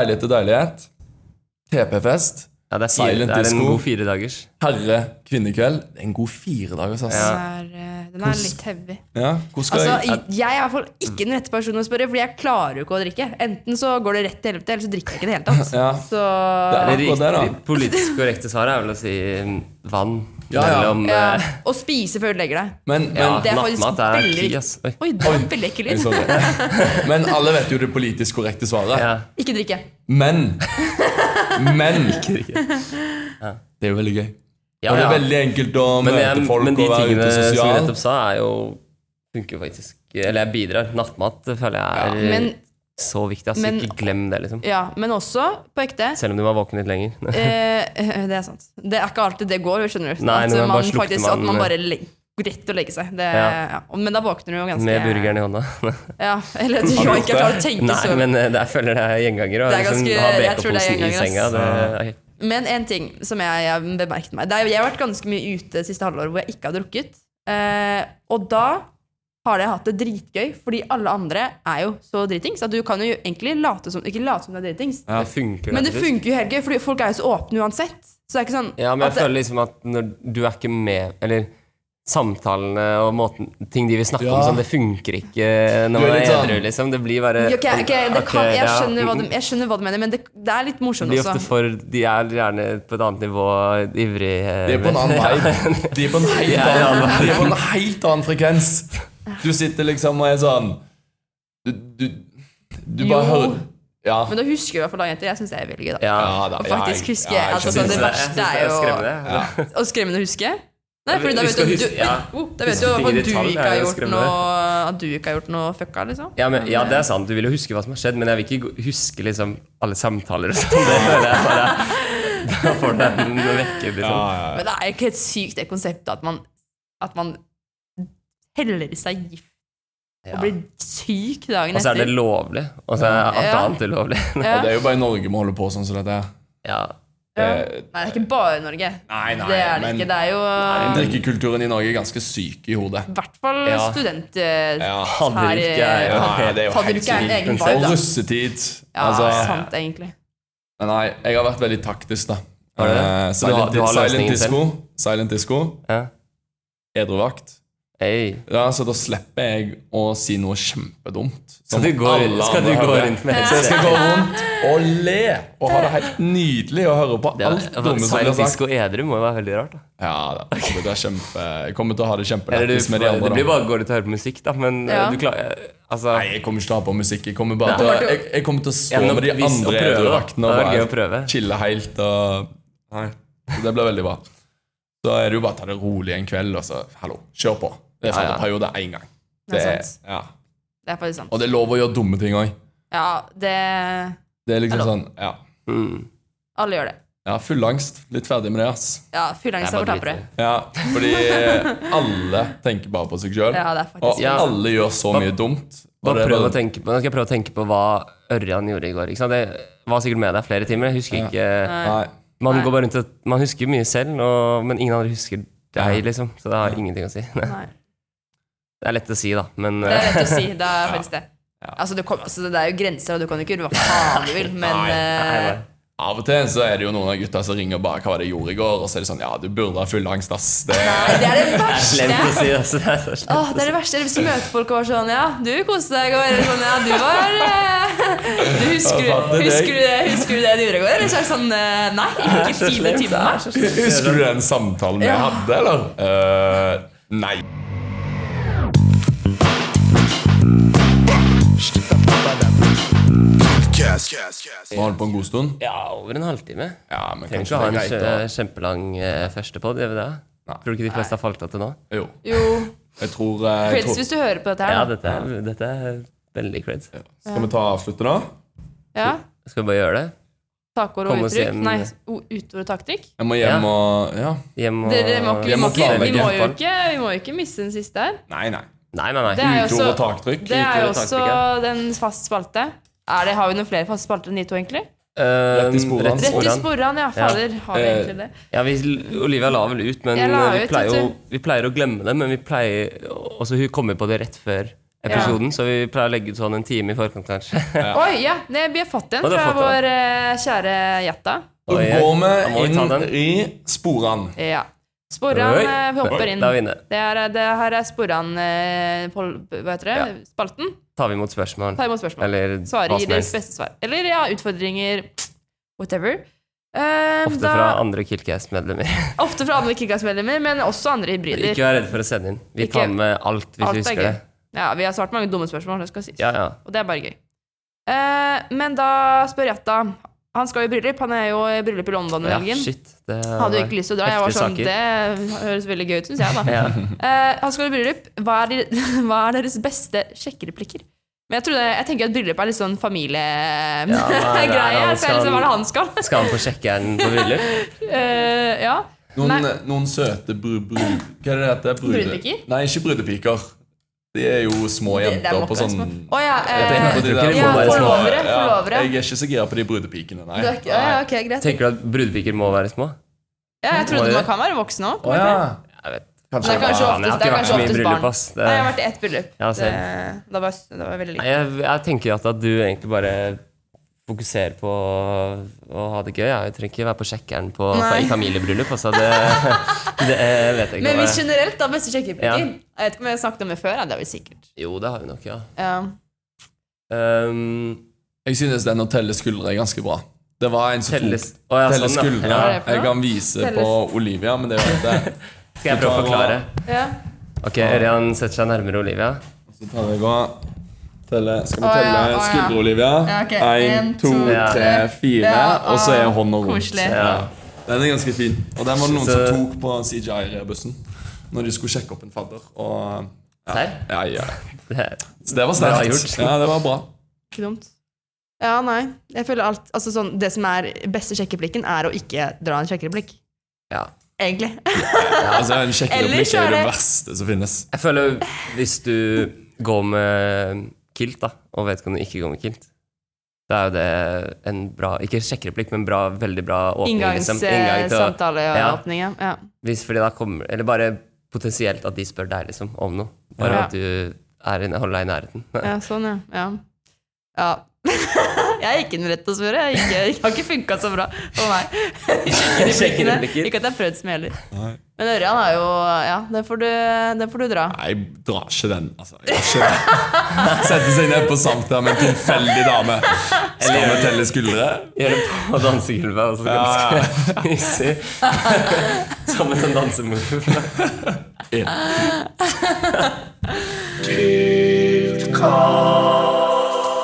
leilighet til deilighet, TP-fest, Ja, det er, fire, Silent det er en disco. god fire dagers. herre-kvinnekveld. Det er en god firedagers, ass. Ja. Den er, eh, den er litt heavy. Ja, hvordan skal Altså, jeg jeg jeg er i hvert fall ikke den rette personen å spørre, Fordi jeg klarer jo ikke å drikke. Enten så går det rett til helvete, eller så drikker jeg ikke i det hele [laughs] tatt. Ja. Så Det Det er akkurat det, da. riktig- politisk korrekte svaret er vel å si mm, vann Ja, ja. mellom ja. eh, Å spise før du legger deg. Men, men ja, det er faktisk nattmat er veldig krig, ass. Oi. Oi, det var veldig ekkel Jeg lyd. så [laughs] det. Men alle vet jo det politisk korrekte svaret. Ja. Ikke drikke. Men [laughs] Men Krig. det er jo veldig gøy. Ja, Og det er ja. veldig enkelt å Men, møte jeg, folk men de og være tingene ute som vi sosial. nettopp sa, er jo funker faktisk. Eller jeg bidrar. Nattmat det føler jeg er eh, Men, så viktig. ass. men- ikke glem det, liksom. ja, men også, på ekte [laughs] Selv om du var våken litt lenger. eh, eh, Det er sant. Det er ikke alltid det går, skjønner du. Nei, at, noen ganger man bare slukter faktisk, man- at man bare legger Rett å legge seg. Det, Ja. ja. Men da våkner du jo ganske Med burgeren i hånda. Ja, eller at du Har du ikke klarer å tenke [laughs] Nei, så men eh, det- jeg føler det er gjengangere. Og Det er liksom, ganske- ha jeg tror det er BK-posen i gjengangere, ass. senga. Det, Men en ting som jeg, jeg bemerket meg det er, jo- Jeg har vært ganske mye ute siste halvåret hvor jeg ikke har drukket. Eh, og da har jeg hatt det dritgøy, fordi alle andre er jo så dritings. At du kan jo egentlig late som, ikke late som du er dritings, Ja. det funker. men det faktisk. funker jo helt gøy, fordi folk er jo så åpne uansett. Så det er ikke sånn Ja, men jeg at det- føler liksom at når du er ikke med Eller samtalene og måten, ting de vil snakke om, Ja. sånn, det funker Du er ikke når man litt er sånn- edru, liksom. Det blir bare Ok, ok, det at kan, det- jeg, ja, skjønner hva du, mm, jeg skjønner hva du mener, men det, det er litt morsomt blir ofte også. for, De er gjerne på et annet nivå ivrig De er på en annen vibe. De er på en helt [laughs] Ja, ja, annen, ja. de er på en helt annen frekvens. Du sitter liksom og er sånn Du, du, du bare Jo. hører Ja. Men da husker du i hvert fall da, jenter. Jeg syns det er veldig gøy, da. Ja, Ja, da, Og ja, faktisk jeg- ja, husker jeg, jeg altså, skjønner. Jeg det synes verste jeg er synes det jo skremmende. Og skremmende å huske? Nei, for da Vi vet skal du, huske- du, ja. oh, da vet Huske du at ting i du detalj, ikke det er har jo gjort skremmende. noe At du ikke har gjort noe fucka, liksom. Ja, men, ja, det er sant. Du vil jo huske hva som har skjedd, men jeg vil ikke gå- huske liksom, alle samtaler og sånn. Det føler jeg bare Da får du en vekker, liksom. Ja, ja, ja. Men det er jo ikke helt sykt, det konseptet at man, at man heller i seg gift Ja. og blir syk dagen Og så er det etter. lovlig, og så er alt Ja. annet ulovlig. [laughs] Og det er jo bare i Norge vi holder på sånn som dette her. Ja. Ja. Eh, Nei, det er ikke bare Norge. Nei, nei, det er det men- ikke. Det er jo Drikkekulturen i Norge er ganske syk i hodet. i hvert fall Ja. student... eh, Ja. Fadderuke er jo Ja, det er jo helt Fadderuke er en sykt. egen konsept, vibe, Og da. russetid. Ja, altså, sant, egentlig. Men nei, jeg har vært veldig taktisk, da. Har du det? Eh, Så du har- Silent, du har silent løsningen disco. Silent disco. ja. Edruvakt. Hey. Ja, så da slipper jeg å si noe kjempedumt. Skal du gå, alle skal du andre gå hører. rundt med Så jeg skal gå rundt og le og ha det helt nydelig å høre på Det alt dumme som blir Silent sagt. disco edru må jo være veldig rart. da Ja, da, det kommer til å være kjempe, jeg kommer til å ha det Eller du, kjempelættis med de det andre. blir Da. bare å gå ut og høre på musikk, da, men eh, Ja. du klarer Altså Nei, jeg kommer ikke til å ha på musikk. Jeg kommer, bare til, å- jeg, jeg kommer til å stå Ja, men med de hvis- og andre prøve, da. edruvaktene Det og hadde vært gøy å bare prøve. chille helt. Og, nei, så det blir veldig bra. Så er det jo bare å ta det rolig en kveld, og så hallo, kjør på. Det er Ja, ja. fadderperiode én gang. Det er er- sant. ja. Det er faktisk sant. Og det er lov å gjøre dumme ting òg. Ja, det Det er liksom sånn, ja. mm. Alle gjør det. Ja, Fullangst. Litt ferdig med det, ass. Ja, Fyllangst er Jeg vår bare driter tapere. i det. Ja, fordi alle tenker bare på seg sjøl, Ja, det er faktisk og Ja. alle gjør så mye dumt. Og Bare det er prøv å bare- tenke på, nå skal jeg prøve å tenke på hva Ørjan gjorde i går. Ikke sant? Jeg var sikkert med deg flere timer. Jeg husker ikke Nei. Man Nei. går bare rundt og Man husker mye selv, og, men ingen andre husker deg, liksom. Så det har ingenting å si. [laughs] Det Nei. er lett å si, da, men Det er lett å si. Det er faktisk det. Altså, du kom, altså, det er jo grenser, og du kan jo ikke gjøre hva faen du vil, men Nei, eh, nei. Av og til så er det jo noen av gutta som ringer og bare 'Hva var det jeg gjorde i går?' Og så er det sånn 'Ja, du burde ha fullangst, ass'. Det nei, det er det [laughs] verste. Slemt å si, altså. Det er så slemt. Åh, det er det verste. Hvis du møter folk og er sånn Ja, du koste deg i går. Eller sånn, ja, du var eh, du husker, Ja, fatter deg. husker, du det, husker du det du gjorde i går? Eller så er det sånn eh, Nei, ikke si det til meg. Husker du den samtalen vi Ja. hadde, eller? Eh, nei. Vi holdt på en god stund. Ja, over en halvtime. Ja, men kanskje Trenger ikke å ha en det er greit. kjø- kjempelang eh, første podd, gjør vi det? Nei. Tror du ikke de fleste har falt av til nå? da. Jo. Jo, Jeg tror, eh, jeg creds tror hvis du hører på dette Ja, her. dette er, dette er veldig creds. Skal vi ta og avslutte, da? da. Ja. Skal vi bare gjøre det? Takord og Kom oss uttrykk. hjem. Nei, o- utord og taktrykk. Jeg må hjem Ja. og Ja. Hjem og Dere må ikke, vi, Jeg må må ikke, vi, må jo planlegge. ikke, vi må jo ikke miste den siste her. Nei, nei. Nei, nei, Det nei. er jo Utord og også, taktrykk. det er Utord jo og også taktrykk, den fast spalte. Er det, har vi noen flere faste spalter enn de to, egentlig? Eh, Rett i sporene. rett i Rett i sporene. sporene, ja. Fader, har vi Eh, egentlig det? Ja, vi, Olivia la vel ut, men eh, Jeg la vi, ut, pleier vet jo, du. vi pleier å glemme det. Men vi pleier også Hun kommer på det rett før episoden, så vi pleier å legge ut sånn en time i forkant, kanskje. Oi, ja, det, vi har fått en Ja, det fra har fått en. vår eh, kjære Jatta. Da Oi, går da må vi vi ta den. inn i sporene. Ja. Sporene Oi. eh, hopper inn. Da er vi inne. Det, er, det her er sporene eh, pol- Hva heter det? Spalten. Tar vi imot spørsmål? Ta imot spørsmål. Eller Svarer hva gir som deres helst. beste svar. Eller ja, utfordringer. Whatever. Eh, Ofte da, fra andre Kiltcast-medlemmer. ofte fra andre Kickass-medlemmer, men også andre hybrider. Ikke vær redd for å sende inn. Vi tar Ikke- med alt hvis Alt vi er husker gøy. det. Ja, vi har svart mange dumme spørsmål, det skal sies. Ja, ja. Og det er bare gøy. Eh, men da spør Jatta. Han skal jo i bryllup. Han er jo i bryllup i London i ja helgen. shit. Det Hadde jo ikke lyst til å dra. Jeg var heftige sånn, Det høres veldig gøy ut, syns jeg. da [laughs] Ja. Eh, Han skal i bryllup. Hva er, de- [laughs] hva er deres beste sjekkereplikker? Men jeg, trodde, jeg tenker at bryllup er litt sånn familiegreie. Ja, hva [laughs] er det Ja, han liksom, skal- hva er det han skal? [laughs] Skal han på sjekkeren på bryllup? Eh, ja. Noen, Nei. noen søte bru, bru, Hva er det det heter? Brude- Brudepiker? Nei, ikke brudepiker. De er jo små Det- det er jenter nok på ganske sånn små. Å ja, eh, Jeg tenker på de Ja, der ja, forlovere. forlovere, forlovere. sånn, Ja, jeg er ikke så gira på de brudepikene, nei. Du er ikke- ja, ja, Nei. ok, greit. Tenker du at brudepiker må være små? Ja, jeg Var trodde det man det? kan være voksen òg. Å ja. Jeg vet. Kanskje Faen, Det er kanskje jeg oftest, har det ikke vært er så mye kanskje i oftest bryllup, barn. ass. Det- Nei, jeg har vært i ett bryllup. Ja, Det, same. da var, da var jeg veldig liten. Nei, Jeg, jeg tenker at at du egentlig bare fokuserer på å, å ha det gøy. ja. Jeg trenger ikke være på sjekkeren på, Nei. i familiebryllup. Altså, det, [laughs] det eh, vet jeg ikke. Men om hvis jeg- generelt, da, beste sjekkereplikker Ja. Jeg vet ikke om jeg har snakket om det før. Ja, det er vel sikkert. Jo, det har vi nok, ja. Ja. Um, Jeg synes den å telle skuldre er ganske bra. Det var en som Telles- tok Å, ja, telle sånn, ja. skuldre. Ja, hva er det for noe? Jeg kan vise Telles- på Olivia, men det er jo at skal jeg prøve å forklare? Ja. Ok, Ørjan setter seg nærmere Olivia. Så tar jeg og telle. Skal vi Å, ja, telle å, ja. skuldre, Olivia? Ja, ok. Én, En, to, to, tre, tre. fire. Ja, Og så er å, hånda rundt. koselig. Ja. Den er ganske fin. Og den var det noen Så- som tok på CGI-rebussen når de skulle sjekke opp en fadder. Og, Serr? ja, ja. Det- Så det var Bra sterkt. gjort. Ja, det var bra. Ikke dumt. Ja, nei. Jeg føler alt Altså sånn Det som er beste sjekkeplikken, er å ikke dra en sjekkereplikk. Ja. Egentlig. Altså, en Ellers sjekkereplikk er er det det- verste som finnes. Jeg føler hvis du går med kilt, da, og vet ikke om du ikke går med kilt da er jo det en bra Ikke sjekkereplikk, men bra, veldig bra åpning. liksom. eh, Inngang til å- ja. Inngangssamtaleåpning, ja. ja. Hvis fordi da kommer Eller bare potensielt at de spør deg liksom om noe. Bare Ja. at du er inne, holder deg i [laughs] nærheten. Ja, sånn, ja. ja. ja. [laughs] jeg gikk inn rett og spør. Jeg, gikk, jeg har ikke funka så bra for meg. Sjekkereplikker. Ikke at jeg har prøvd så mye heller. Nei. Men Ørjan er jo Ja, den får du, den får du dra. Nei, jeg drar ikke den. Altså, jeg gjør ikke det. [laughs] Sette seg ned på samtale med en tilfeldig dame. Skal vi telle skuldre? Gjør det på dansegulvet. Altså, Ja, ganske [laughs] hissig. [laughs] Som en sånn dansemove. Én.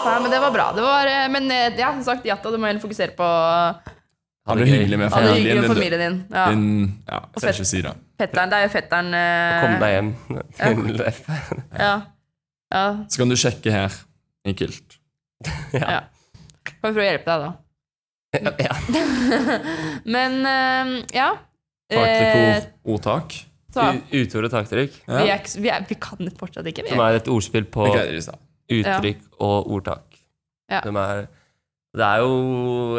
Nei, men det var bra. Det var, eh, men eh, ja, som sagt, Jatta, du må heller fokusere på eh, Ha det hyggelig med ha det familien hyggelig med din. familien din. Ja. Din, ja, jeg skal ikke si det. Fetteren, det er jo fetteren eh, Kom deg hjem til [laughs] F. Ja. ja. Så kan du sjekke her. I kilt. Kan vi prøve å hjelpe deg, da? Ja. Men eh, ja. Eh, Taklekoordtak. så, U- Utord og taktrykk, vi, er, ikke- vi, er, vi kan det fortsatt ikke. Vi som er, er et ordspill på Vi greier det i stad. uttrykk og ordtak. Ja. Som er, det er jo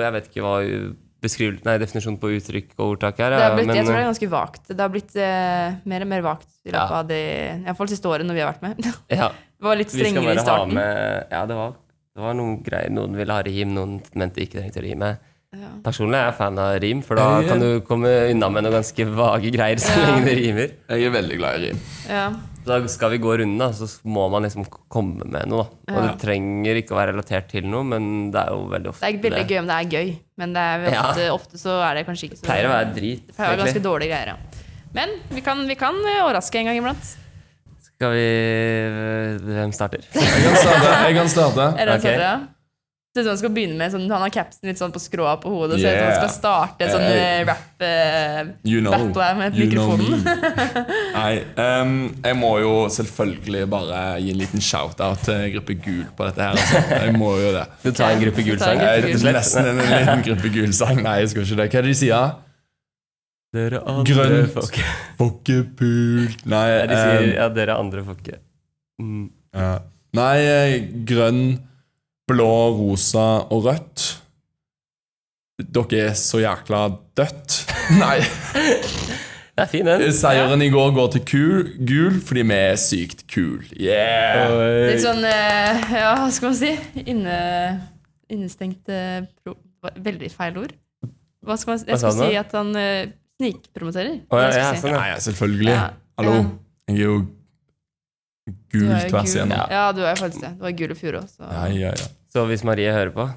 Jeg vet ikke hva u- beskrivel, nei, definisjonen på uttrykk og ordtak er. det ja, har blitt, men, eh, jeg tror det er ganske vagt. Det har blitt eh, mer og mer vagt i løpet Ja. av de i hvert fall siste året når vi har vært med. [laughs] Det eh, ja, var litt vi skal strengere i bare ha starten. med Ja, det var, det var noen greier. Noen ville ha rim, noen mente ikke trengte rime. Ja. Personlig er jeg fan av rim, for da Ja. kan du komme unna med noen ganske vage greier så Ja. lenge det rimer. Jeg er veldig glad i rim. Ja. Da skal vi gå runden, da, så må man liksom komme med noe. Da. Og Ja. det trenger ikke å være relatert til noe, men det er jo veldig Det ofte er veldig gøy om det er gøy, men det er Ja. ofte, ofte så er det kanskje ikke så Pleier å være drit. Det pleier å være ganske egentlig. dårlige greier, ja. Men vi kan, vi kan eh, overraske en gang iblant. Skal vi Hvem starter? Jeg kan starte. Jeg kan starte. Er det Ok. sånn, ja? Ser ut som han skal begynne med sånn, Han har capsen litt sånn på skråa på hodet. Ser ut som Yeah. han skal starte sånn Hey. eh, rap eh, You know. Battle her med You know mikrofonen. me. Nei, ehm, jeg må jo selvfølgelig bare gi en liten shout-out til Gruppe Gul på dette her. Altså. Jeg må jo det. Du tar en gruppe gul sang? [laughs] Ta en Jeg, gruppe det er nesten en liten Gruppe Gul-sang. Nei, jeg skal ikke det. Hva er det de sier? Dere Grønt. [laughs] folk. Fokkepult Nei, Ja, de sier ehm, ja, dere andre får ikke mm. ja. Nei eh, grønn, blå, rosa og rødt. Dere er så jækla dødt. [laughs] Nei. Det er fin, den. Seieren i går går til kul, gul fordi vi er sykt kul. Yeah! Litt sånn eh, Ja, hva skal man si? Inne, innestengt eh, pro, hva- Veldig feil ord. Hva skal man si? Hva Jeg sa han da? skulle si at han eh, snikpromoterer. Å, ja, Det ja, jeg skulle si. sånn, Nei, ja. ja, selvfølgelig. Ja. Hallo. Ja. Jeg er jo Du gul er jo tvers gul. igjennom. Ja, du er jo faktisk det. Du er gul i furu også. Ja, ja, ja. Så hvis Marie hører på,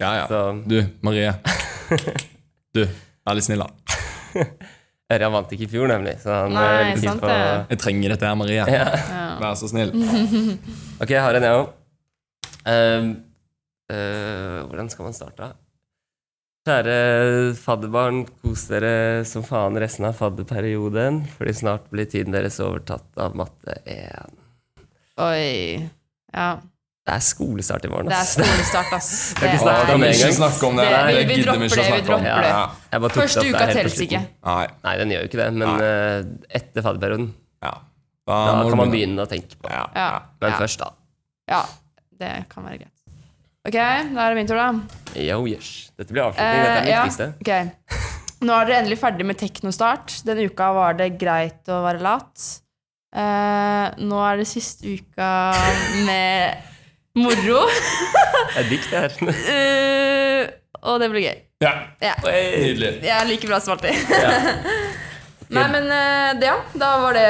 ja, ja. så Du, Marie. Du, vær litt snill, da. Ørjan vant ikke i fjor, nemlig. Så han Nei, er veldig keen sant på det. Jeg trenger dette her, Marie. ja. Ja. Vær så snill. Ok, jeg har en, jeg òg. Ehm, eh, hvordan skal man starte? Kjære fadderbarn, kos dere som faen resten av fadderperioden, fordi snart blir tiden deres overtatt av matte 1. Oi. Ja. Det er skolestart i morgen, altså. Det er [laughs] ass. skolestart, ass. Det ikke Nei, snakk kan om vi det ikke engang. snakke om det. Det- vi- vi gidder dropper det, vi snakke om. dropper det. Ja. Jeg bare tok det Første opp der uka helt på telles ikke. slutten. Nei. Nei, den gjør jo ikke det, men Nei. eh, etter fadderperioden. Ja. Da må du kan man begynne å tenke på det. Ja. Ja. Men ja. først, da. ja. Det kan være greit. Ok, da er det min tur, da. Yo, yes. Dette blir avslutning. Dette er det Eh, ja, viktigste. ok. Nå er dere endelig ferdig med teknostart. Den uka var det greit å være lat. Eh, nå er det siste uka med moro. Det er dikt, [laughs] det her. Eh, og det blir gøy. Ja. Ja. Nydelig. Jeg er like bra som alltid. [laughs] Nei, men eh, det, ja. Da var det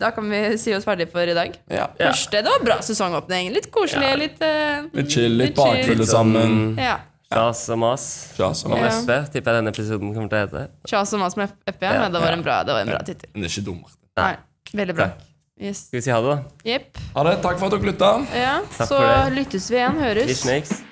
Da kan vi si oss ferdige for i dag. Ja. Ja. Første, Det var bra sesongåpning. Litt koselig, Ja. litt eh, Litt chill, litt Litt chill. bakfulle sammen. Ja. Stas og mas. Ja, så Om var det. FB, tipper jeg denne episoden kommer til å hete. Tjas og mas med FP, Ja, men det var ja. en bra, det var en bra tittel. Men det er ikke dummere. Nei, Veldig bra. Takk. Yes. Skal vi si ha det, da? Jepp. Ha det. Takk for at dere lytta. Ja, Takk så for det. lyttes vi igjen. Høres. Vi snakes.